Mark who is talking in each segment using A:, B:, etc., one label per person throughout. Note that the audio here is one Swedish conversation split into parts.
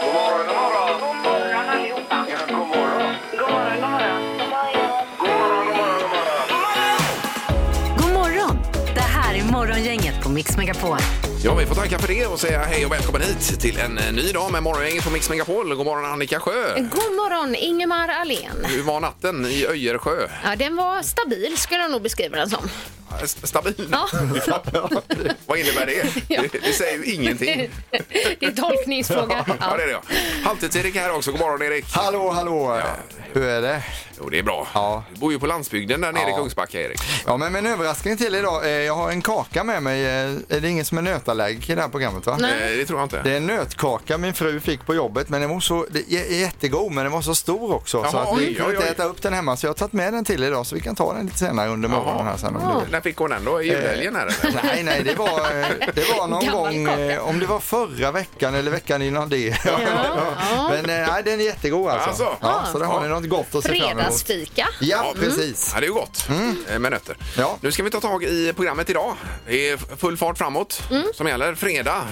A: God morgon, god morgon.
B: God morgon allihopa.
A: Ja, god morgon.
B: God morgon, god morgon.
A: God morgon, god morgon, god morgon.
C: God morgon! Det här är Morgongänget på Mix Megapol.
D: Ja, vi får tacka för det och säga hej och välkommen hit till en eh, ny dag med Morgongänget på Mix Megapol. God morgon Annika Sjö!
E: God morgon, Ingemar Ahlén.
D: Hur var natten i Öjersjö?
E: Ja, den var stabil skulle jag nog beskriva den som.
D: Eh, st- Stabil?
E: Ja.
D: Vad innebär det?
E: Ja.
D: Det, det säger ju ingenting.
E: Det är en tolkningsfråga.
D: Ja,
E: Ja.
D: det är det. ja. Halvtids-Erik är här också. God morgon Erik!
F: Hallå, hallå! Hur är det?
D: Jo, det är bra.
F: Ja.
D: Du bor ju på landsbygden där nere i
F: Ja.
D: Kungsbacka, Erik.
F: Ja, men med en överraskning till idag. Eh, Jag har en kaka med mig. Eh, Är det ingen som är nötallergiker i det här programmet? va?
E: Nej.
D: Eh, Det tror jag inte.
F: Det är en nötkaka min fru fick på jobbet, men den var så det är jättegod, men den var så stor också så
D: Jaha,
F: att
D: oj,
F: vi kunde
D: oj,
F: inte
D: oj.
F: äta upp den hemma. Så jag har tagit med den till idag så vi kan ta den lite senare under morgonen här sen. Om du vill.
D: När fick hon den då? I julhelgen? här, eller?
F: Nej, nej, det var, eh, det var någon
E: Gammal
F: gång,
E: kaka.
F: eh, om det var förra veckan eller veckan innan det.
E: ja.
F: Men eh, nej, den är jättegod alltså.
D: Alltså.
F: Ja, så där har ni något gott att se fram emot.
E: Fredagsfika.
F: Ja, precis.
D: Ja, det är ju gott eh, med nötter.
F: Mm. Ja.
D: Nu ska vi ta tag i programmet idag. Det är full fart framåt
F: Mm.
D: som gäller. Fredag.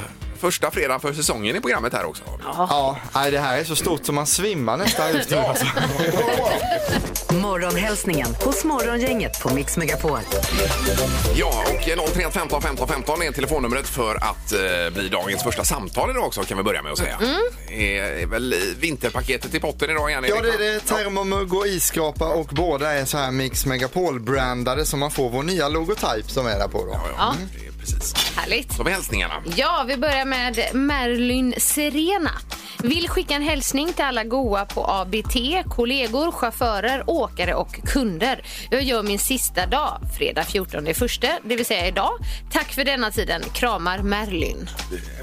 D: Första fredag för säsongen i programmet här också.
F: Ja, nej, det här är så stort som man svimmar nästan just nu. Alltså.
C: Morgonhälsningen hos Morgongänget på Mix Megapol.
D: Ja, och 031 15 15 15 är telefonnumret för att eh, bli dagens första samtal idag också kan vi börja med att säga. Det är, är väl i vinterpaketet i potten idag igen?
F: Mm. Ja,
D: Erik,
F: det är
D: va?
F: det. Termomugg och isskrapa och båda är så här Mix Megapol-brandade så man får vår nya logotyp som är där på då.
D: Ja, ja, det är precis.
E: Härligt.
D: Så med hälsningarna.
E: Ja, vi börjar med Merlin Serena. Vill skicka en hälsning till alla goa på ABT, kollegor, chaufförer, åkare och kunder. Jag gör min sista dag, fredag 14 i första, det vill säga idag. Tack för denna tiden. Kramar Merlin.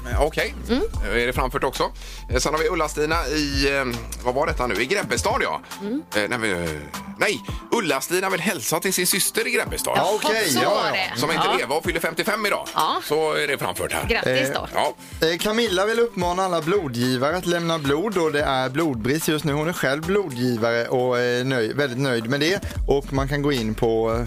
D: Men Okej,
E: Mm.
D: Eh, är det framfört också. Eh, Sen har vi Ulla-Stina i, eh, vad var detta nu, i Grebbestad ja.
E: Mm.
D: Eh, Nej, men, eh, nej, Ulla-Stina vill hälsa till sin syster i Grebbestad.
F: Ja, okej.
E: så
F: ja,
E: var
F: ja.
E: det.
D: Som inte
E: Ja.
D: lever och fyller 55 idag.
E: Ja.
D: Så är det framfört här.
E: Grattis då.
D: Ja,
F: Eh, Camilla vill uppmana alla blodgivare att lämna blod och det är blodbrist just nu. Hon är själv blodgivare och är nöj, väldigt nöjd med det. Och man kan gå in på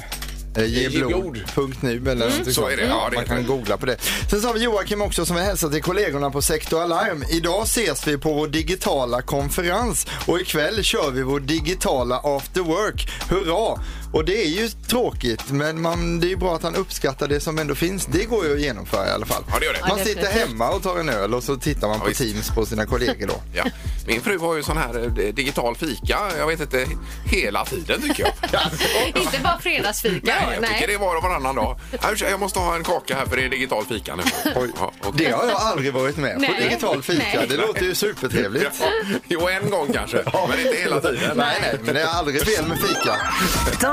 F: eh, geblod.nu eller mm.
D: Så är det. Ja, det
F: Man
D: heter
F: kan
D: det.
F: googla på det. Sen så har vi Joakim också som vill hälsa till kollegorna på Sektor Alarm. Idag ses vi på vår digitala konferens och ikväll kör vi vår digitala after work. Hurra! Och det är ju tråkigt men man, det är ju bra att han uppskattar det som ändå finns. Det går ju att genomföra i alla fall.
D: Ja, det gör det.
F: Man
E: Ja,
F: sitter
E: definitivt.
F: hemma och tar en öl och så tittar man på
D: visst.
F: Teams på sina kollegor då.
D: ja. Min fru har ju sån här eh, digital fika, jag vet inte, hela tiden tycker jag.
E: Inte bara fredagsfika.
D: Nej, jag tycker det är var och varannan dag. Ja, ursäkta, Jag måste ha en kaka här för det är digital fika nu.
F: Oj,
D: Ja, och-
F: Det har jag aldrig varit med på.
E: Nej.
F: Digital fika,
E: Nej.
F: det låter ju supertrevligt.
D: Jo, en gång kanske, men inte hela tiden.
F: Nej, nej, men det är aldrig fel med fika.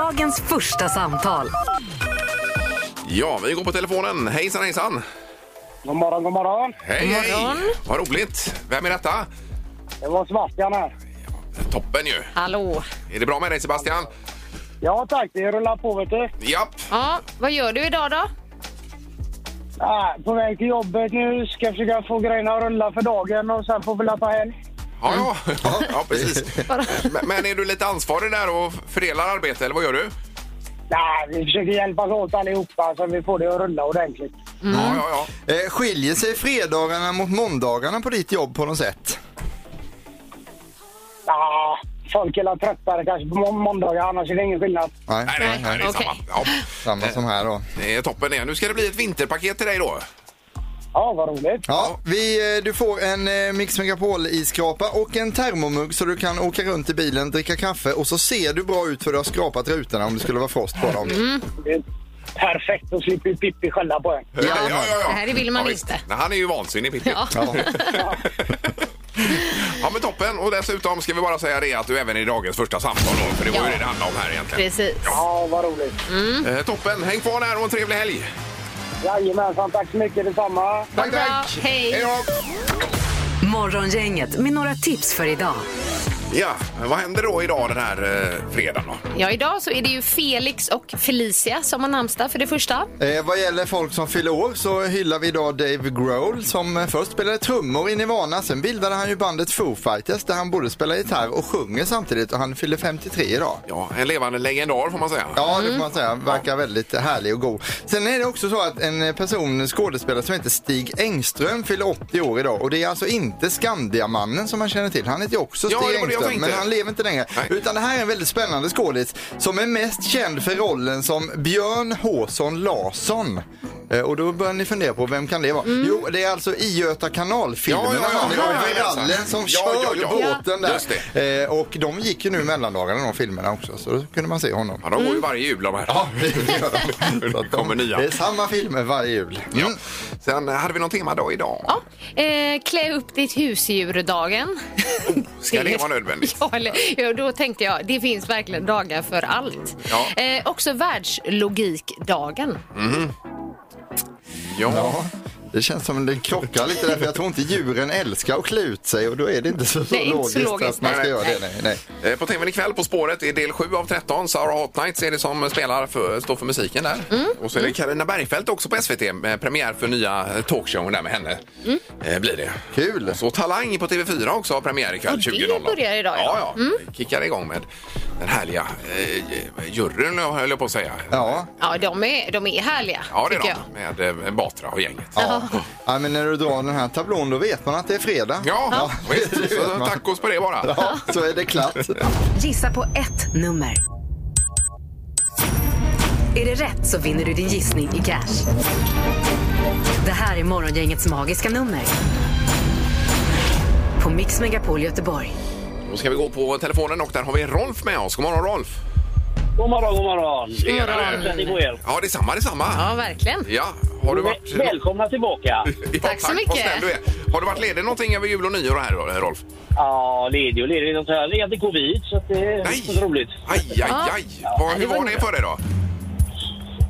C: Dagens första samtal.
D: Ja, vi går på telefonen. Hejsan, hejsan!
G: God morgon, god morgon.
D: Hej, hej! Vad roligt! Vem är detta?
G: Det var Sebastian här.
D: Toppen ju!
E: Hallå.
D: Är det bra med dig Sebastian?
G: Ja tack, det rullar på vet du.
D: Japp!
E: Ja, vad gör du idag då?
G: Ah, på väg till jobbet nu, ska försöka få grejerna att rulla för dagen och sen får vi la ta helg.
D: Ja, ja. ja precis. Men- Men är du lite ansvarig där och fördelar arbete eller vad gör du?
G: Nej, Äh, vi försöker hjälpas åt allihopa så vi får det att rulla ordentligt.
D: Ja, ja, ja.
F: Eh, skiljer sig fredagarna mot måndagarna på ditt jobb på något sätt?
G: Ah, folk är la tröttare kanske på må- måndagar, annars är det ingen skillnad.
F: Nej,
D: Nej, nej, nej, det är
E: Okej.
D: samma. Ja,
F: samma som här då.
D: det är toppen det. Nu ska det bli ett vinterpaket till dig då.
G: Ja, vad roligt.
F: Ja, vi, eh, du får en eh, Mix Megapol-iskrapa och en termomugg så du kan åka runt i bilen, dricka kaffe och så ser du bra ut för du har skrapat rutorna om det skulle vara frost på dem.
E: Mm,
G: Det är perfekt, då slipper ju Pippi skälla på en.
D: ja, ja, ja.
E: Det här vill man
D: visst.
E: inte.
D: Nej, han är ju vansinnig Pippi. Ja.
F: Ja.
D: men toppen. Och dessutom ska vi bara säga det att du även är dagens första samtal då, för det var ju
E: Ja.
D: det det handlade om här egentligen.
E: Precis.
G: Ja, vad roligt.
D: Eh, toppen. Häng kvar där och en trevlig helg.
G: Jajamensan, tack så mycket detsamma.
D: Tack,
E: Bra,
D: tack.
E: hej.
D: då.
C: Morgongänget med några tips för idag.
D: Ja, men vad händer då idag den här eh, fredagen då?
E: Ja, idag så är det ju Felix och Felicia som har namnsdag för det första.
F: Eh, vad gäller folk som fyller år så hyllar vi idag Dave Grohl som eh, först spelade trummor i Nirvana. Sen bildade han ju bandet Foo Fighters där han både spelar gitarr och sjunger samtidigt och han fyller 53 idag.
D: Ja, en levande legendar får man säga.
F: Ja, det får man säga. Verkar väldigt härlig och god. Sen är det också så att en eh, person, en skådespelare som heter Stig Engström fyller 80 år idag. Och det är alltså inte Skandiamannen som man känner till. Han heter ju också
D: Ja,
F: Stig
D: det var det jag
F: Engström,
D: tänkte.
F: men han lever inte längre.
D: Nej.
F: Utan det här är en väldigt spännande skådis som är mest känd för rollen som Björn Håsson Larsson. Eh, Och då börjar ni fundera på vem kan det vara? Jo, det är alltså i Göta kanal-filmerna.
D: Ja, ja, ja,
F: med
D: ja, ja, ja.
F: Virallen som
D: Ja, ja,
F: kör
D: ja.
F: båten där.
D: Just det.
F: Eh, och de gick ju nu mellandagarna de filmerna också, så då kunde man se honom.
D: Ja, de går ju varje jul de här.
F: Mm. Ja, det gör de. Så att de-
D: Kommer nya.
F: Det är samma filmer varje jul.
D: Ja. Sen eh, hade vi någon temadag idag.
E: Ja. Eh, klä upp ditt husdjur-dagen.
D: Ska det vara nödvändigt?
E: Ja, eller, ja, då tänkte jag, det finns verkligen dagar för allt.
D: Ja.
E: Eh, också världslogikdagen.
D: Ja.
F: Det känns som det krockar lite där, för jag tror inte djuren älskar att klä ut sig och då är det inte så, så
E: Det är inte
F: logiskt
E: så
F: att
E: logiskt,
F: man ska
E: nej.
F: göra det. Nej, nej.
D: Eh, På tvn ikväll På spåret är del 7 av 13. Sarah Hot Nights är det som spelar för, står för musiken där.
E: Mm.
D: Och så är det Carina Bergfeldt också på SVT. med Premiär för nya eh, talkshowen där med henne.
E: Mm.
D: Eh, Blir det.
F: Kul!
D: Så Talang på TV4 också har premiär ikväll
E: Och det
D: 20.00.
E: börjar idag,
D: Ja,
E: ja. Mm.
D: ja. Kickar igång med den härliga eh, juryn höll jag på att säga.
F: Ja,
E: Ja, de är, de är härliga,
D: Ja, det
E: tycker jag.
D: är de. Med eh, Batra och gänget.
F: ja. ja, men när du drar den här tablån då vet man att det är fredag.
D: Ja, visst.
F: det vet
D: Så
F: man.
D: tacos på det bara.
F: Ja, så är det klart.
C: Gissa på ett nummer. Är det rätt så vinner du din gissning i cash. Det här är Morgongängets magiska nummer. På Mix Megapol Göteborg.
D: Då ska vi gå på telefonen och där har vi Rolf med oss. God morgon Rolf!
H: God morgon, god morgon.
D: Tjenare.
H: Hoppas ni går er.
D: Ja, detsamma, detsamma.
E: Ja, verkligen.
D: Ja, har du varit...
H: Väl- Välkomna tillbaka.
D: Ja,
E: Tack så
D: vad
E: mycket.
D: snäll du är. Har du varit ledig någonting över jul och nyår här, Rolf?
H: Ja, ledig och ledig. Jag har legat i covid, så att det är inte så roligt.
D: Aj, aj,
E: Ja.
D: aj. Vad- hur
E: det var
D: var det
E: inte
D: för dig då?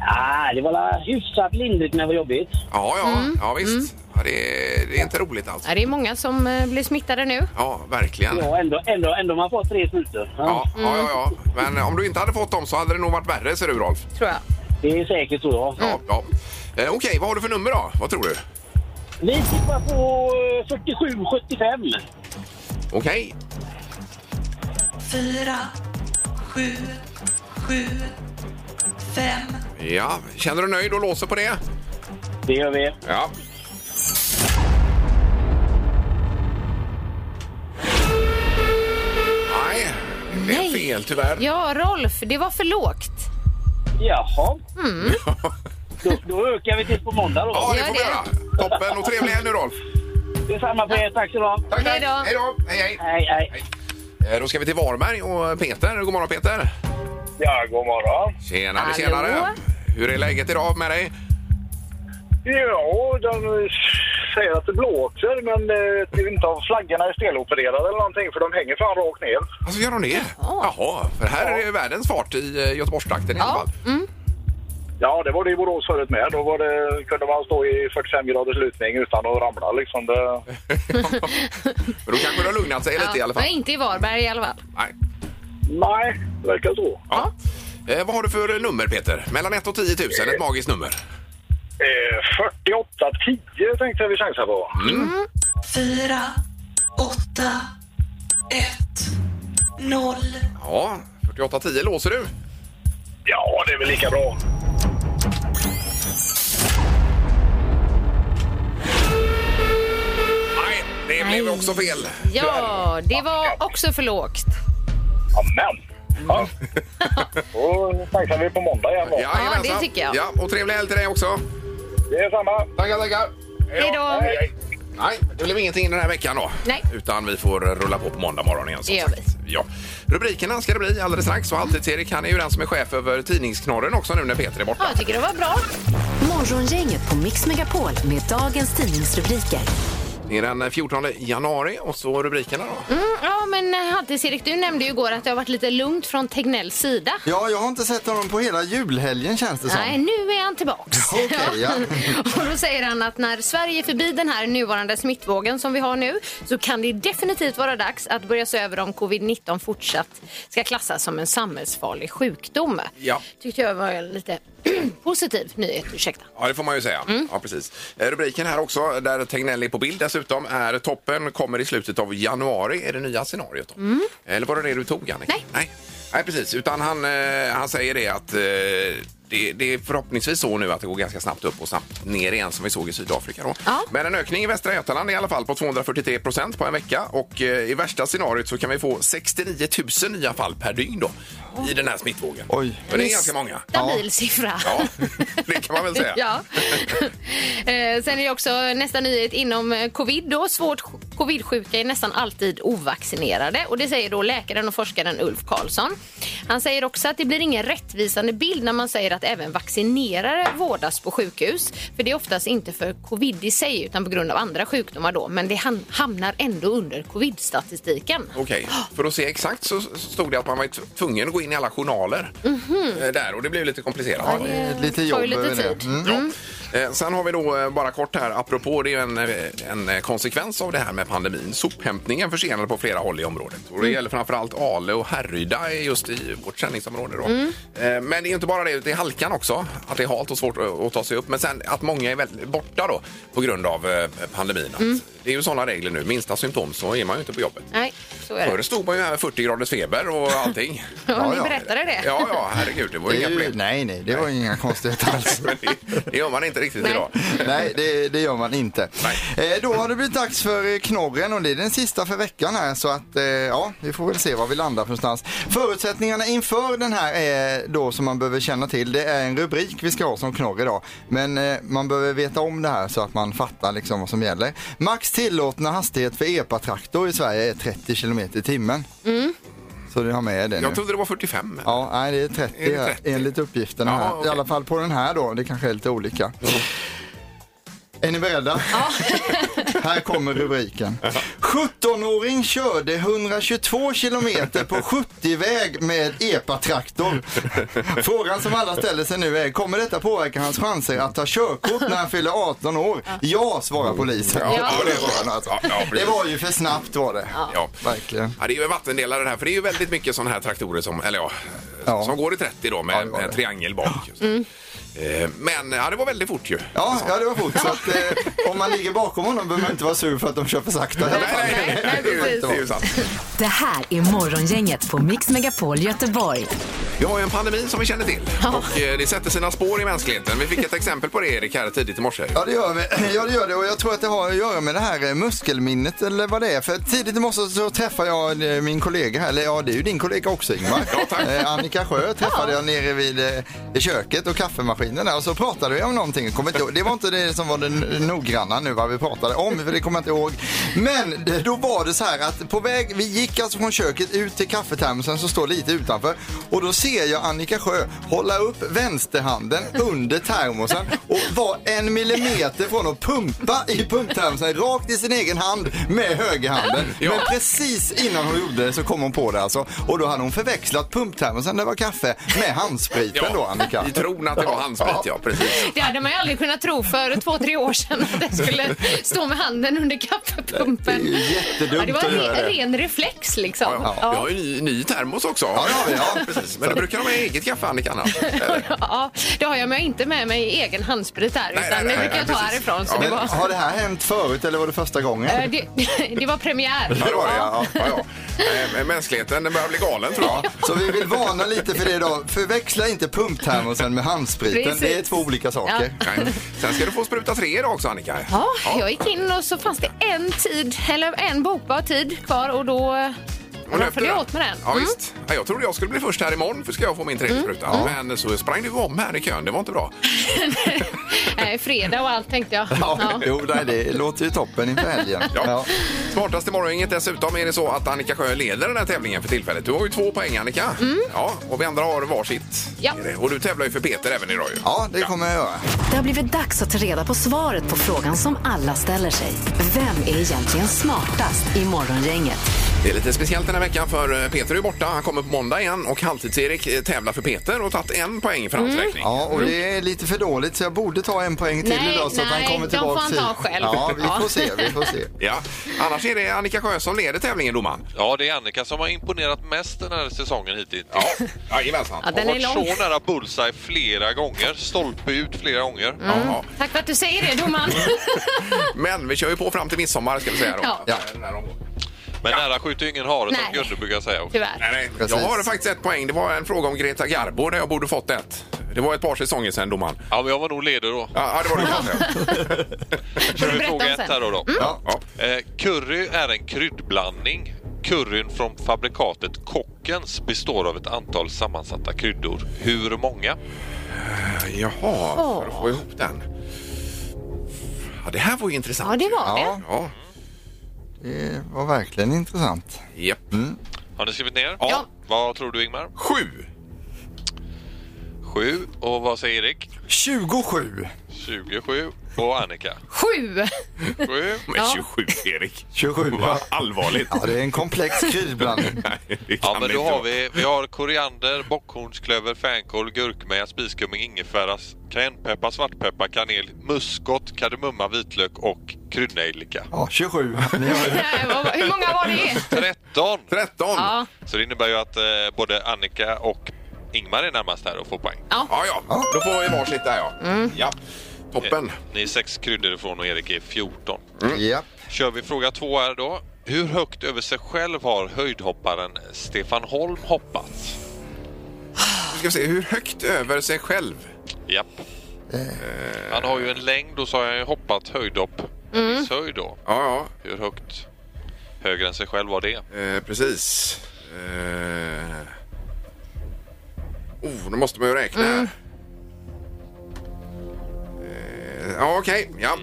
H: Ah, det var hyfsat lindrigt, men det var jobbigt.
D: Ja, ja,
E: Mm.
D: ja visst. Ja, det, är, det är inte roligt alls.
E: Ja, det är många som eh, blir smittade nu.
D: Ja, verkligen. Ja,
H: Ja, ändå, ändå, ändå man får tre sprutor. Ja.
D: ja, ja, ja.
E: Mm.
D: Men om du inte hade fått dem så hade det nog varit värre, ser du, Rolf.
E: tror jag.
H: Det är säkert, tror jag.
E: Mm.
D: Ja, ja. Eh, Okej, vad har du för nummer då? Vad tror du?
H: Vi tippar på eh, 47,75.
D: Okej. Fyra, sju, sju, fem. Ja, känner du dig nöjd och låser på det?
H: Det gör vi.
D: Ja. Nej, det är
E: Nej.
D: fel tyvärr.
E: Ja, Rolf, det var för lågt.
H: Jaha. Då, då ökar vi tills på måndag då.
D: Ja, det
E: Gör
D: får vi
E: det.
D: göra. Toppen och trevlig helg nu Rolf.
H: Detsamma på er. Tack så bra.
D: Tack,
E: Hej då.
D: Hej då. Hej,
H: Hej, hej.
D: hej. Eh, Då ska vi till Varberg och Peter. God morgon Peter.
G: Ja, god morgon.
D: Tjenare,
E: Hallå.
D: tjenare. Hur är läget idag med dig?
G: Ja, de säger att det blåser, men eh, det är inte av flaggorna är stelopererade eller någonting, för de hänger fan rakt ner.
D: Alltså gör de det? Jaha, för här är det världens fart i eh, Göteborgstrakten i alla fall.
E: Mm.
G: Ja, det var det i Borås förut med. Då var det, kunde man stå i 45 graders lutning utan att ramla liksom. Det,
D: Men då kanske det har lugnat sig lite i alla
E: Men
D: fall.
E: inte i Varberg i alla fall.
D: Nej.
G: nej, det verkar så.
D: Ja. Eh, vad har du för nummer Peter? Mellan 1 och 10 000, ett magiskt nummer.
G: Eh, 48 10 tänkte jag vi chansar på.
D: Ja, 4810 låser du.
G: Ja, det är väl lika bra.
D: Nej, det blev också fel.
E: Ja, det var också för lågt.
G: Amen. Ja. Då chansar vi på måndag igen då.
D: jajamensan.
E: det tycker jag.
D: Ja, och trevlig helg till dig också.
G: Det är samma.
D: Tackar, tackar.
E: Hej då.
D: Nej, det blev ingenting den här veckan då.
E: Nej.
D: Utan vi får rulla på på måndag morgon igen. som
E: Det gör
D: sagt. Ja. Rubrikerna ska det bli alldeles strax och Halvtids-Erik han är ju den som är chef över tidningsknorren också nu när Peter är borta.
E: Ja, jag tycker det var bra.
C: Morgongänget på Mix Megapol med dagens tidningsrubriker.
D: Det är den 14 januari och så rubrikerna då.
E: Mm, ja, men eh, Halvtids-Erik, du nämnde ju igår att det har varit lite lugnt från Tegnells sida.
F: Ja, jag har inte sett honom på hela julhelgen känns det som.
E: Nej, nu är han tillbaks.
F: Okej, ja.
E: Och då säger han att när Sverige är förbi den här nuvarande smittvågen som vi har nu så kan det definitivt vara dags att börja se över om covid-19 fortsatt ska klassas som en samhällsfarlig sjukdom.
D: Ja.
E: Tyckte jag var en lite positiv nyhet, ursäkta.
D: Ja, det får man ju säga.
E: Mm.
D: Ja, precis. Eh, Rubriken här också, där Tegnell är på bild dessutom, är toppen kommer i slutet av januari, är det nya scenariot då? Eller var det det du tog, Annika?
E: Mm. Nej.
D: Nej, Nej precis. Utan han, eh, han säger det att eh, det, det är förhoppningsvis så nu att det går ganska snabbt upp och snabbt ner igen som vi såg i Sydafrika. Då.
E: Ja.
D: Men en ökning i Västra Götaland i alla fall på 243 procent på en vecka och eh, i värsta scenariot så kan vi få 69 000 nya fall per dygn då i den här smittvågen.
F: Oj.
D: Och det är ganska många.
E: Stabil siffra.
D: Ja, det kan man väl säga.
E: Ja. Eh, Sen är det också nästa nyhet inom eh, covid. Då. Svårt sj- covidsjuka är nästan alltid ovaccinerade. Och Det säger då läkaren och forskaren Ulf Karlsson. Han säger också att det blir ingen rättvisande bild när man säger att även vaccinerade vårdas på sjukhus. För Det är oftast inte för covid i sig utan på grund av andra sjukdomar. Då. Men det ham- hamnar ändå under covid-statistiken.
D: Okej, för att se exakt så så stod det att man var t- tvungen att gå in i alla journaler. eh, Där, och det blev lite komplicerat.
F: Mhm. Ja, det är lite
E: tar ju
F: jobb
E: lite
F: över det.
E: tid.
F: Mm.
D: Eh, Sen har vi då eh, bara kort här, apropå det är ju en, eh, en eh, konsekvens av det här med pandemin. Sophämtningen försenade på flera håll i området. Och det
F: Mm.
D: gäller framförallt Ale och Härryda är just i vårt sändningsområde. Då.
F: Mm.
D: Eh, Men det är inte bara det, det är halkan också. Att det är halt och svårt att att ta sig upp. Men sen att många är väl borta då på grund av eh, pandemin. Att
F: Mm.
D: Det är ju sådana regler nu. Minsta symptom så är man ju inte på jobbet.
E: Nej, så är
D: Förr
E: det.
D: stod man ju här med 40 graders feber och allting.
E: Ja, ni berättade det.
D: Ja, ja, herregud, det var ju
F: Det
D: inga
F: är ju,
D: problem.
F: Mm, nej, nej, det var inga konstigheter alls.
D: Men det, det gör man inte riktigt
E: Nej.
D: idag.
F: Nej, det, det gör man inte. Eh, då har det blivit dags för eh, knorren och det är den sista för veckan här så att eh, ja, vi får väl se var vi landar för någonstans. Förutsättningarna inför den här är då som man behöver känna till. Det är en rubrik vi ska ha som knorr idag. Men eh, man behöver veta om det här så att man fattar liksom vad som gäller. Max tillåtna hastighet för epatraktor i Sverige är 30 km i timmen. Så du har med det nu.
D: Jag trodde det var 45.
F: Ja, nej, det är 30,
D: Är det 30?
F: enligt uppgifterna
D: Jaha,
F: här.
D: okej.
F: I alla fall på den här då, det kanske är lite olika. Är ni beredda? här kommer rubriken. 17-åring körde 122 kilometer på 70-väg med epatraktor. Frågan som alla ställer sig nu är, kommer detta påverka hans chanser att ta körkort när han fyller 18 år? Ja, svarar polisen.
D: Ja,
E: ja,
D: det var-
F: Frågan alltså.
D: ja, ja, precis.
F: det var ju för snabbt var det.
D: Ja.
F: Verkligen.
D: Ja, det är ju en vattendelare det här, för det är ju väldigt mycket sådana här traktorer som, eller ja,
F: Ja.
D: som går i 30 då med
F: Ja, det
D: en
F: var det. Mm.
D: en triangel bak. Eh, Men ja, det var väldigt fort ju.
F: Ja, ja det var fort. Så att, eh, om man ligger bakom honom behöver man inte vara sur för att de kör för sakta.
D: Nej, nej, nej,
E: Nej,
D: det är ju-
E: precis.
D: det är ju sant.
C: Det här är Morgongänget på Mix Megapol Göteborg.
D: Vi har ju en pandemi som vi känner till och eh, det sätter sina spår i mänskligheten. Vi fick ett exempel på det Erik här tidigt i morse.
F: Ja det, gör vi. ja det gör det och jag tror att det har att göra med det här eh, muskelminnet eller vad det är. För tidigt i morse så träffade jag eh, min kollega här, eller ja det är ju din kollega också Ingmar.
D: Ja, tack.
F: Eh, Annika Sjö träffade jag nere vid eh, i köket och kaffemaskinen där och så pratade vi om någonting. Kommer inte ihåg. Det var inte det som var det n- noggranna nu vad vi pratade om för det kommer jag inte ihåg. Men det- då var det så här att på väg, vi gick alltså från köket ut till kaffetermosen som står lite utanför och då ser jag Annika Sjö hålla upp vänsterhanden under termosen och vara en millimeter från att pumpa i pumptermosen rakt i sin egen hand med högerhanden.
D: Ja.
F: Men precis innan hon gjorde det så kom hon på det alltså och då hade hon förväxlat pumptermosen, det var kaffe, med handspriten då Annika.
D: I tron att det var handsprit, ja precis.
E: Det hade man ju aldrig kunnat tro för två, tre år sedan att det skulle stå med handen under
F: Det är
E: kaffepumpen.
F: ju jättedumt
E: Ja, det var
F: att
E: en
F: göra
E: re-
F: det.
E: ren reflex liksom.
D: Ja, ja. Vi har ju ny, ny termos också.
F: Ja, det har vi, ja.
D: precis. Men du brukar ha med eget kaffe, Annika, annars. Eller?
E: Ja, det har jag, men jag har inte med mig egen handsprit här,
D: Nej,
E: utan
D: nej, nej,
E: det brukar jag ta
D: nej, precis.
E: härifrån. Så
D: Ja,
E: det,
F: Men,
E: var,
F: har det här hänt förut eller var det första gången?
E: eh, det, det var premiär.
D: Ja, det var det, ja. ja, ja. Eh, men Mänskligheten den börjar bli galen, tror jag.
F: Så vi vill varna lite för det idag. Förväxla inte pumptermosen med handspriten.
E: Precis.
F: Det är två olika saker.
D: Nej. Sen ska du få spruta tre idag också, Annika.
E: Ja, jag gick in och så fanns det en tid, eller en bokbar tid kvar och då eh,
D: Och löpte
E: raffade jag åt med den.
D: Ja, visst. Ja, jag trodde jag skulle bli först här imorgon för ska jag få min tredje spruta. Men så sprang du om här i kön. Det var inte bra.
E: Eh, fredag och allt tänkte jag.
F: Ja.
E: Ja.
F: Jo, nej, det låter ju toppen inför helgen.
D: Ja. Smartast i morgongänget dessutom är det så att Annika Sjö leder den här tävlingen för tillfället. Du har ju två poäng Annika. Ja, och vi andra har varsitt.
E: Ja.
D: Är det. Och du tävlar ju för Peter även idag ju.
F: Ja, det kommer jag göra.
C: Det har blivit dags att ta reda på svaret på frågan som alla ställer sig. Vem är egentligen smartast i morgongänget?
D: Det är lite speciellt den här veckan för eh, Peter är ju borta. Han kommer på måndag igen och Halvtids-Erik eh, tävlar för Peter och tagit en poäng för hans räkning.
F: Ja, och det är lite för dåligt så jag borde ta en poäng till
E: Nej,
F: idag så att han
E: nej,
F: kommer
E: de får
F: tillbaka.
E: han ta själv.
F: Ja, vi
E: Ja.
F: får se, vi får se.
D: Ja. Annars är det Annika Sjö som leder tävlingen, domaren.
I: Ja, det är Annika som har imponerat mest den här säsongen hittills.
D: Ja, jajamensan.
E: Ja, den
I: Hon
E: är
I: har
E: lång.
I: varit så nära bullseye flera gånger, stolpe ut flera gånger.
D: Jaha.
E: Tack för att du säger det, domaren.
D: Men vi kör ju på fram till midsommar ska vi säga då.
E: Ja.
D: Ja. Den här omgången.
I: Men nära skjuter ju ingen hare som
E: Nej.
I: Gunde brukar säga.
E: Tyvärr.
D: Nej, nej. Jag
F: Precis.
D: har faktiskt ett poäng. Det var en fråga om Greta Garbo där jag borde fått ett. Det var ett par säsonger sedan, domaren.
I: Ja, men jag var nog ledig då.
D: Ja, ja, det var det.
I: Kör vi
E: berätta om
I: fråga ett
E: sen.
I: här då. då.
F: Ja.
D: Ja.
I: Eh, curry är en kryddblandning. Curryn från fabrikatet Kockens består av ett antal sammansatta kryddor. Hur många?
D: Jaha, för att få ihop den. Ja, det här var ju intressant.
E: Ja, det var det.
F: Ja,
D: Ja,
F: det var verkligen intressant.
D: japp.
I: Har ni skrivit ner?
E: Ja.
I: Vad tror du Ingmar?
D: Sju.
I: Sju. Och vad säger Erik?
F: 27.
I: 27. Och Annika?
E: Sju.
I: Sju.
D: Men 27, Erik.
F: 27,
D: Vad
F: ja.
D: allvarligt.
F: Ja, det är en komplex kryddblandning.
D: Nej, det
I: Ja,
D: kan
I: men
D: vi
I: då
D: inte
I: har
D: vara.
I: vi, vi har koriander, bockhornsklöver, fänkål, gurkmeja, spiskummin, ingefära, s- cayennepeppar, svartpeppar, kanel, muskot, kardemumma, vitlök och kryddnejlika.
F: Ja, 27. Ni har det.
E: Nej, vad- Hur många var det?
I: 13!
D: 13. Ja,
E: Ja,
I: Så det innebär ju att eh, både Annika och Ingmar är närmast här och får poäng.
D: ja. Då får vi varsitt där, ja. Ja, toppen.
I: Ni är sex kryddor ifrån och Erik är 14.
F: Ja.
I: Kör vi fråga två här då. Hur högt över sig själv har höjdhopparen Stefan Holm hoppat?
D: Nu ska vi se, hur högt över sig själv?
I: Japp. Han har ju en längd och så har han ju hoppat höjdhopp. En viss höjd då.
D: Ja,
I: Hur högt högre än sig själv var det?
D: ja, eh, precis. Eh. Oh, nu måste man ju räkna här. Eh, ja, okej. Ja.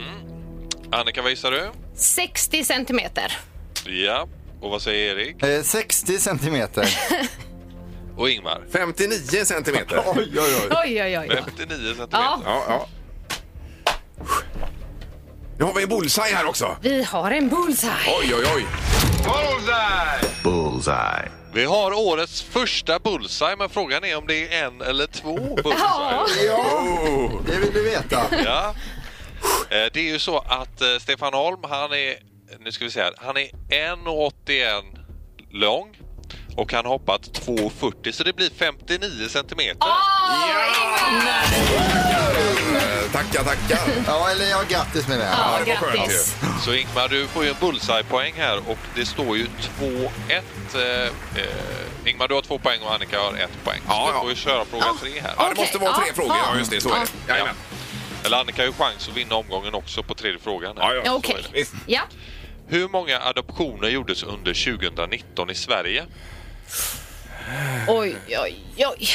I: Annika, vad gissar du?
E: 60 centimeter.
I: Ja. Och vad säger Erik?
F: Eh, 60 centimeter.
I: Och Ingmar?
D: 59 centimeter. Ja,
F: Oj, oj, oj.
E: Oj, oj, oj. oj.
I: 59 centimeter.
E: Ja,
D: ja. Nu har vi en bullseye här också.
E: vi har en bullseye.
D: Oj, oj, oj.
I: Vi har årets första bullseye, men frågan är om det är en eller två
E: Ja.
D: Oh.
I: bullseye.
F: Ja, det vill du veta.
I: Ja. Eh, Det är ju så att eh, Stefan Holm, han är, nu ska vi se här, han är 1,81 lång och han har hoppat 2,40 så det blir 59 centimeter.
D: Eh, Tackar, tackar.
F: Ja, eller ja, grattis med det. Ja.
D: det var skönt
E: grattis.
I: Så Ingmar, du får ju en bullseye-poäng här och det står ju 2-1. Eh, eh, Ingmar, du har två poäng och Annika har ett poäng.
D: Ja,
I: så
D: ja.
I: du får ju köra fråga tre här.
D: Ja, det måste
E: Okej,
D: vara tre
E: ja,
D: frågor.
E: ja.
D: Ja, just det. Så är det. Jajamän.
I: Eller Annika har ju chans att vinna omgången också på tredje frågan. här.
D: Ja, ja.
E: Okej.
D: Så är det. Visst.
E: Ja.
I: Hur många adoptioner gjordes under 2019 i Sverige?
E: Oj, oj, oj.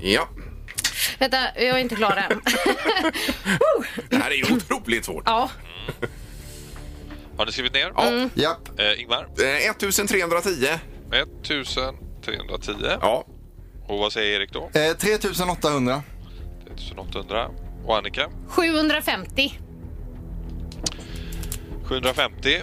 D: Ja.
E: Vänta, jag är inte klar än.
D: Det här är ju otroligt svårt.
E: Mm. Ja, Mm.
I: Har ni skrivit ner?
F: Japp.
I: Eh, Ingmar?
D: Eh, 1310.
I: 1310.
D: Ja.
I: Och vad säger Erik då?
F: Eh, 3800.
I: 1800. Och Annika?
E: 750.
I: 750.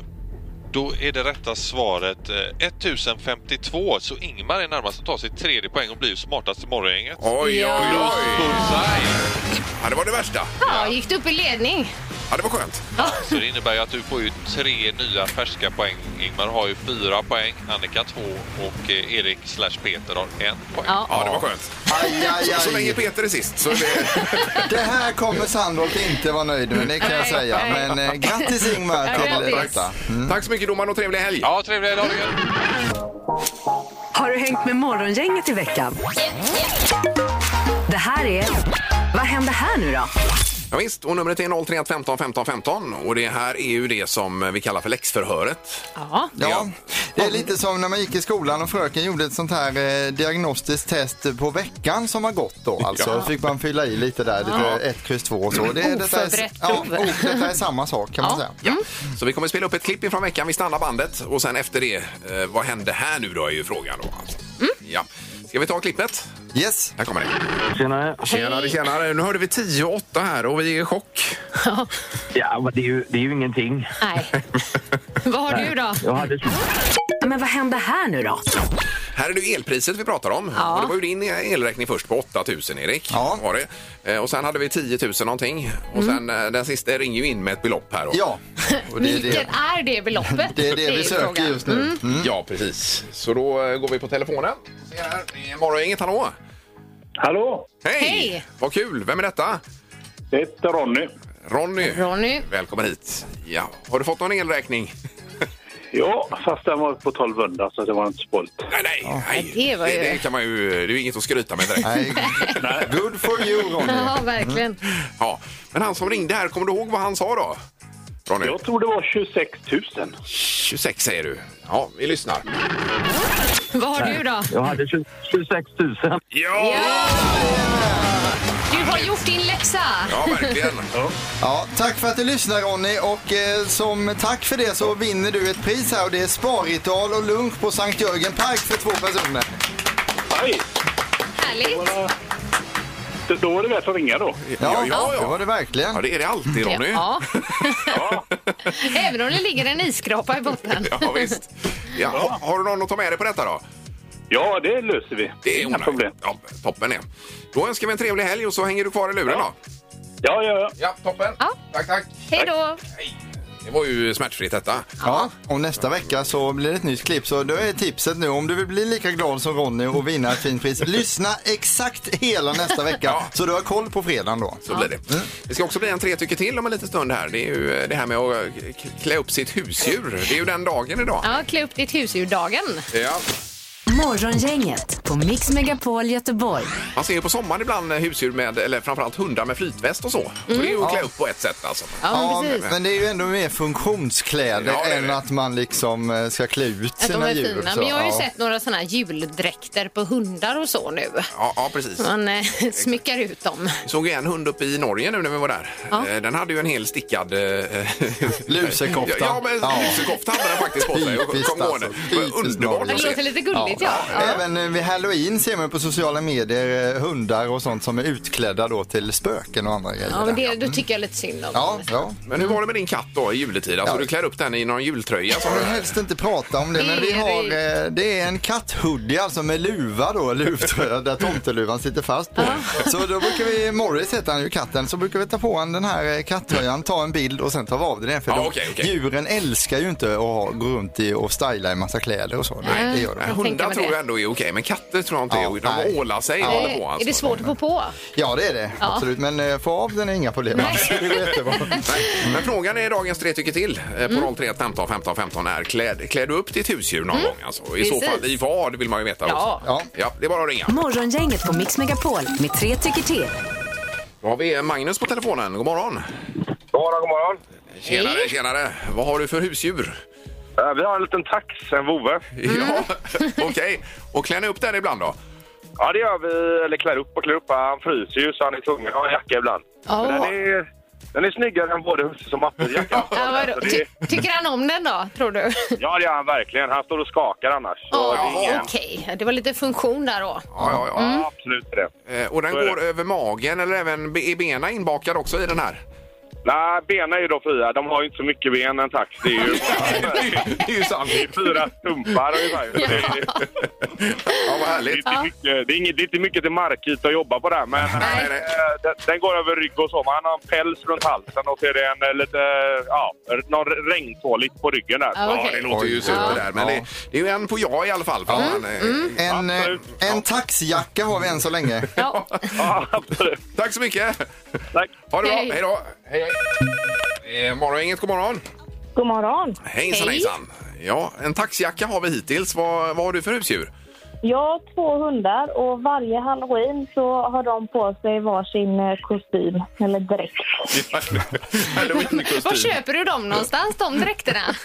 I: Då är det rätta svaret eh, 1052. Så Ingmar är närmast att ta sitt tredje poäng och blir ju smartast i morgongänget.
D: Oj, oj,
E: Ja.
D: oj.
I: Bullseye!
D: Ja, det var det värsta.
E: Ja, gick du upp i ledning?
D: Ja, det var skönt.
I: Så det innebär ju att du får ju tre nya färska poäng. Ingmar har ju fyra poäng, Annika två och eh, Erik slash Peter har en poäng.
E: Ja.
D: Ja, det var skönt.
F: Aj, aj,
D: Så länge
F: aj.
D: Peter är sist så är det...
F: Det här kommer Sandholt inte vara nöjd med, det kan jag
E: Nej,
F: säga.
E: nej.
F: Men eh, grattis Ingmar
E: Ja,
F: till
E: grattis.
F: detta.
E: Mm.
D: Tack så mycket domaren och trevlig helg.
I: Ja, trevlig helg! ha det gött.
C: Har du hängt med morgongänget i veckan? Det här är... Vad händer här nu då?
D: Ja, visst, och numret är 031 15 15 15 och det här är ju det som vi kallar för läxförhöret.
E: Ja.
F: Ja, Det är lite som när man gick i skolan och fröken gjorde ett sånt här eh, diagnostiskt test på veckan som har gått då. Alltså
D: Ja.
F: fick man fylla i lite där, lite 1, kryss 2 och så. Det,
E: Oförberett
F: ja,
E: prov.
F: o- detta är samma sak kan man säga.
D: Ja. Så vi kommer spela upp ett klipp ifrån veckan. Vi stannar bandet och sen efter det, eh, vad hände här nu då är ju frågan då. Alltså.
F: Mm.
D: Ja. Ska vi ta klippet?
F: Yes.
D: Här kommer det.
H: Tjenare.
D: Tjenare, tjenare. Nu hörde vi 10 och 8 här och vi är i chock.
H: Ja, men det är ju, det är ju ingenting.
E: Nej. Vad har du då?
H: Jag hade...
C: Men vad hände här nu då?
D: Här är det ju elpriset vi pratar om.
E: Ja.
D: Och det var ju din elräkning först på 8 000 Erik.
F: Ja. Mm.
D: Var det. Eh, Och sen hade vi 10 000 någonting. Och sen eh, den sista ringer ju in med ett belopp här. Då.
F: Ja, och det är det,
E: Vilket är det beloppet?
F: det, är det vi söker
E: frågan.
F: just nu. Mm.
D: Ja, precis. Så då eh, går vi på telefonen. Se här, det är Morgongänget, hallå!
G: Hallå?
D: Hej!
E: Hej!
D: Vad kul! Vem är detta?
G: Det heter Ronny.
D: Ronny.
E: Ronny.
D: Välkommen hit. Ja. Har du fått någon elräkning?
G: Ja, fast den var på 1200 så det var inte spolt.
D: Nej, nej, nej.
E: Ja, det var ju-
D: Det, kan man ju... Det är ju inget att skryta med direkt.
F: Nej. Good for you Ronny.
E: Ja, verkligen.
D: Ja. Men han som ringde här, kommer du ihåg vad han sa då? Ronny?
G: Jag tror det var 26 000.
D: 26 säger du. Ja, vi lyssnar.
E: Vad har du då?
H: Jag hade 26 000.
D: Ja!
E: Ja! Du har gjort din läxa.
D: Ja, verkligen.
F: Ja, tack för att du lyssnar Ronny och eh, som tack för det så vinner du ett pris här och det är sparritual och lunch på Sankt Jörgen Park för två personer.
G: Aj!
E: Härligt.
G: Då- Då var det värt att ringa då.
D: Ja, ja,
F: det var
D: ja.
F: det verkligen.
D: Ja, det är det alltid, Ronny.
E: Ja. Även om det ligger en iskrapa i botten.
D: Ja, visst. Ja, ha- Har du någon att ta med dig på detta då?
G: Ja, det löser vi.
D: Det är
G: Inga
D: onödigt.
G: problem.
D: Ja, toppen är. Då önskar vi en trevlig helg och så hänger du kvar i luren
G: Ja.
D: då.
G: Ja, ja, ja.
D: Ja, toppen.
E: Ja.
D: Tack, tack.
E: Hej då.
D: Hej. Det var ju smärtfritt detta.
F: Ja, och nästa vecka så blir det ett nytt klipp. Så då är tipset nu om du vill bli lika glad som Ronny och vinna ett fint pris. Lyssna exakt hela nästa vecka så du har koll på fredagen då.
D: Så blir det. Det ska också bli en tre tycker till om en liten stund här. Det är ju eh, det här med att eh, k- klä upp sitt husdjur. Det är ju den dagen idag.
E: Ja, klä upp ditt husdjur-dagen.
D: Ja.
C: Morgongänget på Mix Megapol Göteborg.
D: Man ser ju på sommaren ibland eh, husdjur med, eller framförallt hundar med flytväst och så. Så det är
F: Mm.
D: ju att klä upp på ett sätt alltså.
E: Ja, men precis.
F: men det är ju ändå mer funktionskläder
D: Ja, det är
F: än
D: det.
F: att man liksom eh, ska klä ut
E: Att de
F: sina
E: är
F: djur.
E: fina.
F: så,
E: Men jag har ju
F: ja.
E: sett några såna här juldräkter på hundar och så nu.
D: Ja, ja precis.
E: Man eh, smyckar ut dem.
D: Vi såg ju en hund uppe i Norge nu när vi var där.
E: Ja.
D: Eh, Den hade ju en hel stickad... eh,
F: Lusekofta.
D: Ja, men
F: Ja.
D: lusekofta hade den faktiskt på sig. Och
F: Typiskt
D: kom gående.
F: alltså.
D: Det var
F: Typiskt
D: Underbart
F: Norge.
E: Det
D: att
E: låter
D: se.
E: lite gulligt, ja. ja.
F: Även eh, vid halloween ser man på sociala medier eh, hundar och sånt som är utklädda då till spöken och andra grejer.
E: Ja, men det, då tycker jag lite synd om
F: ja,
E: dem. Eh,
F: ja.
D: Men hur var det med din katt då i juletid? Alltså
F: Ja.
D: du klär upp den i någon jultröja sa
F: Jag vill
D: du?
F: helst inte prata om det, men vi har, eh, det är en katthoodie alltså med luva då, luvtröja där tomteluvan sitter fast på. Så då brukar vi, Morris heter han ju katten, så brukar vi ta på han den här eh, kattröjan, ta en bild och sen ta av den igen. För
D: Ja,
F: de,
D: okej, okej.
F: djuren älskar ju inte att ha, gå runt i och styla i massa kläder och så. Nej, det gör de.
E: Jag tänker
D: Hundar
E: mig
D: tror
E: det.
D: jag ändå är okej, men katter tror jag inte
F: Ja,
D: är okej.
F: nej.
D: De ålar sig och
E: Är
D: håller
E: det-
D: på.
E: Är
D: Alltså.
E: det svårt att få på?
F: Ja, det är det.
E: Ja.
F: Absolut. Men eh, få av den är inga problem. Alltså, det går jättebra.
D: Nej. Men frågan är dagens tre tycker till eh, på
E: Mm.
D: 031 15 15 15 är klär, klär du upp ditt husdjur någon gång? Alltså? I så
E: Mm. Precis.
D: fall i vad vill man ju veta.
E: Ja.
D: Också.
F: Ja.
D: Ja, det är bara att ringa.
C: Morgongänget på Mix Megapol med tre tycker till.
D: Då har vi Magnus på telefonen. God morgon!
G: God morgon, god morgon.
D: Tjenare,
E: Hej.
D: tjenare! Vad har du för husdjur?
G: Eh, Vi har en liten tax, en vovve.
D: Ja,
E: Mm.
D: okej. Och klär ni upp den ibland då?
G: Ja, det gör vi. Eller klär upp och klär upp. Han fryser ju så han är tvungen att ha en jacka ibland.
E: Ja.
G: Men Den, är, den är snyggare än både husse och mattes jacka.
E: Ja, vadå?
G: Så det
E: Ty
G: är-
E: tycker han om den då, tror du?
G: ja, det gör han verkligen. Han står och skakar annars. Så
E: Ja,
G: det är ingen,
E: Okej, det var lite funktion där då.
D: Ja, ja, ja.
E: Mm.
G: Ja, Absolut inte det.
D: Eh, Och den
G: Så är
D: går över magen eller även be- är benen inbakade också i den här?
G: Nej, benen är ju då fria. De har ju inte så mycket ben, en tax. Det är ju
D: Det är ju sant.
G: det är fyra stumpar ungefär. Det är-
D: Ja, vad
G: Det är,
D: härligt.
G: inte mycket, det, är inget, det är inte mycket till markyta att jobba på där, men
D: Nej, nej.
G: eh, den, den går över rygg och så. Man har en päls runt halsen och så är det en eh, lite, eh, ja, någon regntåligt på ryggen där.
D: Ja,
E: Ja, okej.
D: det låter ju
F: Oj.
D: super
F: Ja.
D: där. Men det,
F: Ja.
D: det är ju en på ja i alla fall. För man, eh,
F: En, eh,
G: Absolut.
F: en taxjacka har vi än så länge.
E: Ja.
G: Ja, absolut.
D: Tack så mycket!
G: Tack.
D: Ha det bra.
E: Hej.
D: Hej då! Hej, hej. Eh, Morgongänget, god morgon!
B: God morgon.
D: Hejsan,
E: Hej.
D: hejsan! Ja, en taxjacka har vi hittills. Vad, vad har du för husdjur?
B: Jag har två hundar och varje halloween så har de på sig varsin eh, kostym eller dräkt.
D: Halloween-kostym.
E: Var köper du dem någonstans, de dräkterna?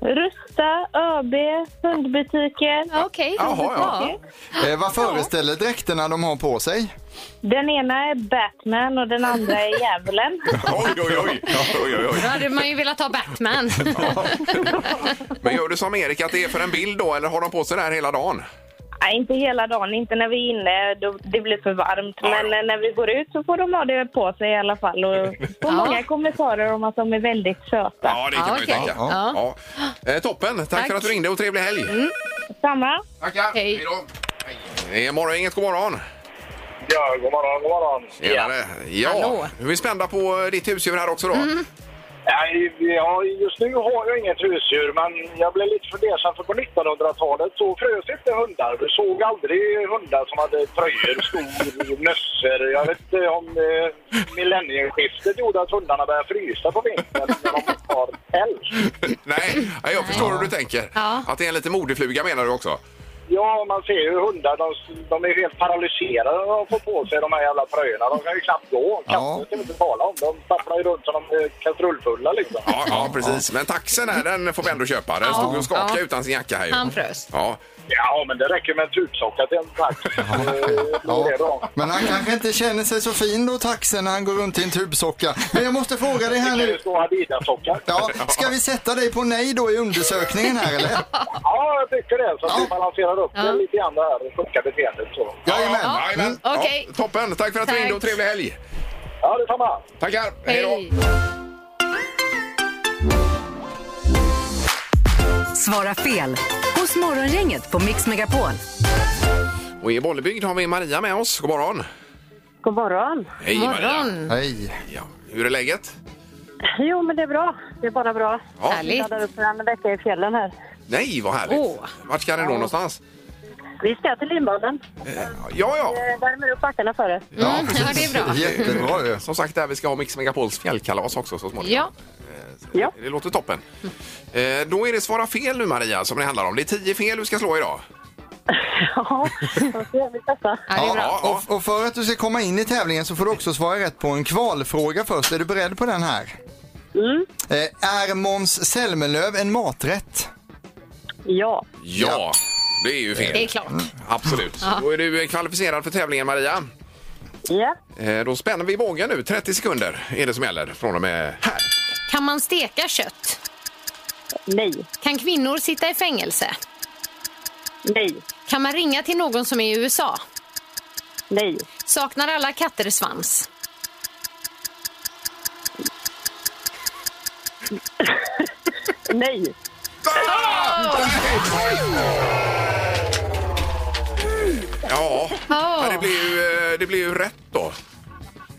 B: Rusta, ÖB, hundbutiker.
E: Ja, Okej.
D: Jaha, ja.
F: Eh, vad föreställer dräkterna de har på sig?
G: Eh,
B: Den ena är Batman och den andra är djävulen.
D: Oj, oj, oj. oj, oj,
E: Då
D: oj.
E: hade man ju velat ha Batman.
D: Men gör du som Erik, att det är för en bild då, eller har de på sig det här hela dagen?
B: Nej, inte hela dagen, inte när vi är inne. Då, det blir för varmt. Men eh, när vi går ut så får de ha det på sig i alla fall. Och får
E: Ja.
B: många kommentarer om att de är väldigt söta.
D: Ja, det kan
E: Ja,
D: man ju
E: okej.
D: tänka.
E: Ja.
D: Ah, Ja. Eh, toppen, tack,
E: Tack.
D: för att du ringde och trevlig helg.
B: Samma.
D: Tackar,
E: Hej.
D: då. Hej. Det är morgongänget, god morgon.
G: Ja, god morgon, god morgon.
D: Tjenare. Ja,
E: Hallå. Mm.
D: nu är vi spända på eh, ditt husdjur här också då.
G: Nej, ja, just nu har jag inget husdjur, men jag blev lite fundersam för på 1900-talet så frös inte hundar. Vi såg aldrig hundar som hade tröjor, skor, mössor. Jag vet inte om eh, millennieskiftet gjorde att hundarna började frysa på vintern när de har päls.
D: Nej, ja, jag förstår hur du tänker.
E: Ja.
D: Att det är en liten modefluga menar du också?
G: Ja, man ser ju hundar, de, de är helt paralyserade när de får på sig de här jävla tröjorna. De kan ju knappt gå. Katter
F: Ja.
G: ska vi inte tala om. De stapplar ju runt som de är kastrullfulla liksom.
D: Ja, ja precis. Men taxen här, den får vi ändå köpa. Den stod ju och skakade
E: Ja.
D: utan sin jacka här ju.
E: Han frös.
D: Ja,
G: Ja, men det räcker med en tutsocka till en tax.
F: Ja.
G: Det är bra.
F: Men han kanske inte känner sig så fin då, taxen, när han går runt i en tubsocka. Men jag måste fråga dig här
G: Kan ju
F: nu.
G: stå Adidas-sockar. Ja.
F: Ja, ska vi sätta dig på nej då i undersökningen här eller?
G: jag tycker det. Så att vi balanserar upp det lite grann det här sjuka beteendet. Så.
F: Jajamän.
E: Ja. Mm,
D: Jajamän.
E: Okej.
D: Ja, toppen, tack för att du
E: Tack.
D: ringde och trevlig helg.
G: Ja, detsamma.
D: Tackar, hej då.
E: Hej.
C: Svara fel hos Morgongänget på Mix Megapol.
D: Och i Bollebygd har vi Maria med oss. God morgon.
B: God morgon.
D: Hej Maria.
E: Morgon.
F: Hej.
D: Ja, hur är läget?
B: Jo, men det är bra. Det är bara bra.
D: Ja.
E: Härligt.
B: laddar upp för en vecka i fjällen här.
D: Nej, vad härligt.
E: Åh.
D: Vart ska ni då någonstans?
B: Vi ska till Lindbaden.
D: Ja, ja.
B: Eh, Värmer upp backarna för det.
E: Mm, ja, det är bra.
F: Jättebra ju.
D: Som sagt, där vi ska ha Mix Megapols fjällkalas också så småningom.
E: Ja,
B: Ja.
D: Det låter toppen. Eh, Då är det svara fel nu Maria som det handlar om. Det är tio fel du ska slå idag.
B: Ja, då ska vi testa.
E: ja det är bra.
D: Ja, ja.
F: Och, och för att du ska komma in i tävlingen så får du också svara rätt på en kvalfråga först. Är du beredd på den här?
B: Mm.
F: Eh, är Måns Zelmerlöw en maträtt?
B: Ja.
D: Ja, det är ju
E: Det är
D: fel.
E: klart.
D: Absolut. Då är du kvalificerad för tävlingen Maria.
B: Ja.
D: Eh, Då spänner vi bågen nu. 30 sekunder är det som gäller från och med här.
E: Kan man steka kött?
B: Nej.
E: Kan kvinnor sitta i fängelse?
B: Nej.
E: Kan man ringa till någon som är i USA?
B: Nej.
E: Saknar alla katter svans?
B: Nej.
D: Ja, men det blir ju, eh, det blir ju rätt då.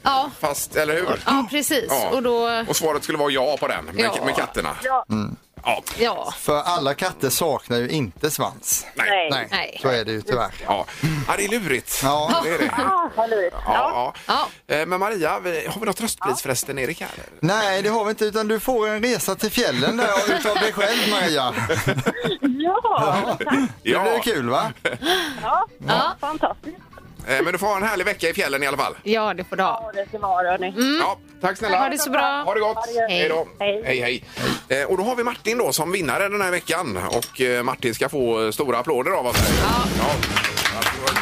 E: Ja,
D: Fast, eller hur?
E: ja precis.
D: Ja.
E: Och då...
D: Och svaret skulle vara ja på den, med,
E: Ja.
D: med katterna. Mm.
B: Ja.
D: Ja.
E: Ja,
F: För alla katter saknar ju inte svans.
D: Nej.
B: Nej.
E: Nej.
F: så är det ju tyvärr.
D: Ja. ja, det är lurigt.
F: Ja.
D: Det är det.
B: Ah, vad lurigt. Ja.
D: Ja, ja. Eh, Men Maria, vi- har vi något tröstpris förresten, Erik? Här?
F: Nej, det har vi inte utan du får en resa till fjällen där utav dig själv Maria.
B: Ja.
F: Det blir kul va?
B: ja. Fantastiskt.
D: Eh, Men du får ha en härlig vecka i fjällen i alla fall.
E: ja det får du ha.
B: Ja, det ska man ha, hörni.
D: Ja, tack snälla.
E: Mm. Ha det så bra.
D: Ha det gott.
E: Hej.
D: Hej då.
B: Hej.
D: Hej, hej. Eh, Och då har vi Martin då som vinnare den här veckan. Och eh, Martin ska få eh, stora applåder av oss. här. Ja.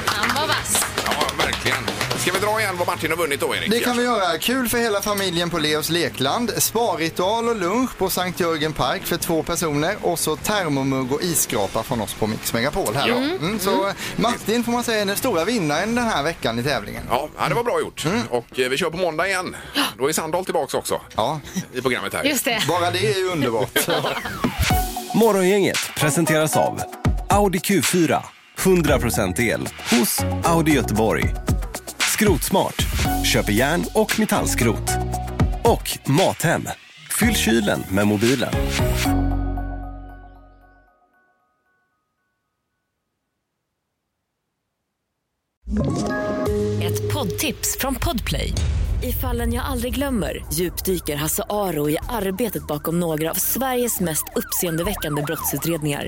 E: Han var vass.
D: ja, verkligen. Ska vi dra igen vad Martin har vunnit då, Erik?
F: Det kan vi göra. Kul för hela familjen på Leos Lekland. Sparritual och lunch på Sankt Jörgen Park för två personer och så termomugg och isskrapa från oss på Mix Megapol här då. Mm, så Martin får man säga är den stora vinnaren den här veckan i tävlingen.
D: Ja, ja, det var bra gjort.
F: Mm.
D: Och eh, vi kör på måndag igen. Då är Sandahl tillbaka också
F: Ja,
D: i programmet här.
E: Just det.
F: bara det är ju underbart.
J: Morgongänget presenteras av Audi Q4. 100% el hos Audi Göteborg. Skrotsmart. Köper järn och metallskrot. Och Mathem. Fyll kylen med mobilen.
K: Ett poddtips från Podplay. I fallen jag aldrig glömmer djupdyker Hasse Aro i arbetet bakom några av Sveriges mest uppseendeväckande brottsutredningar.